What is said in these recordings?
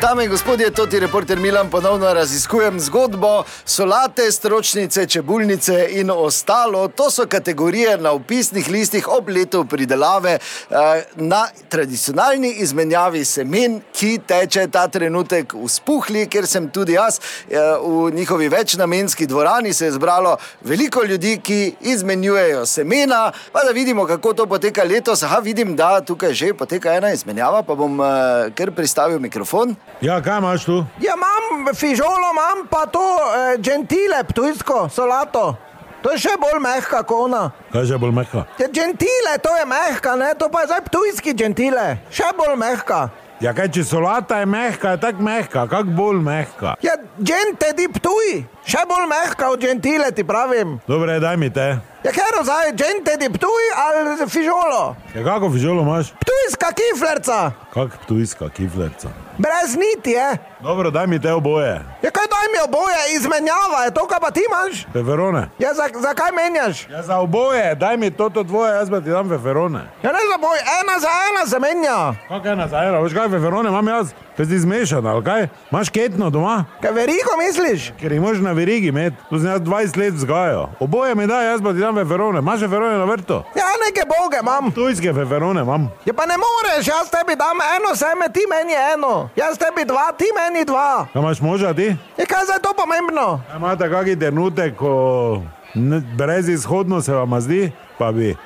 Dame in gospodje, to ti reporter Milan ponovno raziskujem zgodbo. Solate, stročnice, čebulnice in ostalo, to so kategorije na upisnih listih ob letu pridelave eh, na tradicionalni izmenjavi semen, ki teče ta trenutek v Spuhli, kjer sem tudi jaz. Eh, v njihovi večnamenski dvorani se je zbralo veliko ljudi, ki izmenjujejo semena. Pa da vidimo, kako to poteka letos. Aha, vidim, da tukaj že poteka ena izmenjava, pa bom eh, kar pristavil mikrofon. Ja, kaj imaš tu? Ja, imam fižolo, imam pa to eh, gentile, tujsko solato. To je še bolj mehka kot ona. Kaj že bolj mehka? Ja, gentile, to je mehka, ne? to pa je zdaj tujski gentile, še bolj mehka. Ja, kaj če solata je mehka, je tako mehka, kako bolj mehka. Ja, gente di ptuj, še bolj mehka od gentile ti pravim. Dobre, daj mi te. Ja, ker zdaj gente di ptuj ali fižolo. Ja, kako fižolo imaš? Ptujska kiflerca, Kak tujska kiflerca. brez niti je. Dobro, daj mi te oboje. Ja, kaj daj mi oboje, izmenjava je to, kar pa ti imaš. Peferone. Ja, za, zakaj menjaš? Ja, za oboje, daj mi to tvoje, jaz pa ti dam peferone. Ja, ne za boj, ena za ena se menja. Kaj je nazaj, veš kaj, peferone imam jaz, te si zmešan, ali kaj? Imaš ketno doma? Kaj veriko misliš? Ker jih moraš na verigi imeti, tu sem jaz 20 let vzgajal. Oboje mi daj, jaz pa ti dam peferone. Imaš peferone na vrtu? Ja, neke boge imam. Tujske peferone imam. Ja, pa ne moreš, jaz tebi dam eno seme, ti meni eno, jaz tebi dva, ti meni dva. Kaj imaš moža ti? Je kaj za to pomembno? A Imate kakšen trenutek, ko ne- brezizhodno se vam zdi, pa bi.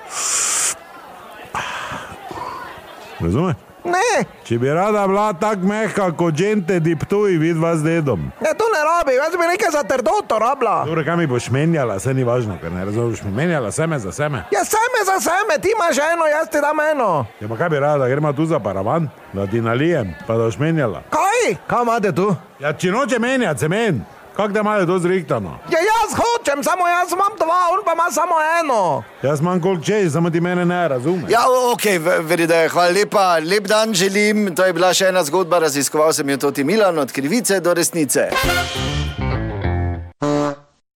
Razumete? Ne, Če bi rada bila tako mehka kot džente, diptuj vid vas dedom. ne to ne rabi, jaz bi nekaj za trdoto rabila. Dobro, kaj mi boš menjala, se ni važno, ker ne razumeš, mi menjala seme za seme. Ja, seme za seme, ti imaš eno, jaz ti dam eno. Ja, pa kaj bi rada, da gremo tu za paravan, da ti nalijem, pa da boš menjala. Kaj? Kaj imate tu? Ja, če noče menjati, se meni, kako da imajo to zrihtano. Ja, jaz hočem, samo jaz imam dva, on pa ima samo eno. Jaz imam koliko čez, samo ti mene ne razumeš. Ja, ok, verjede, hvala lepa, lep dan želim. To je bila še ena zgodba, raziskoval sem jo tudi Milan, od krivice do resnice.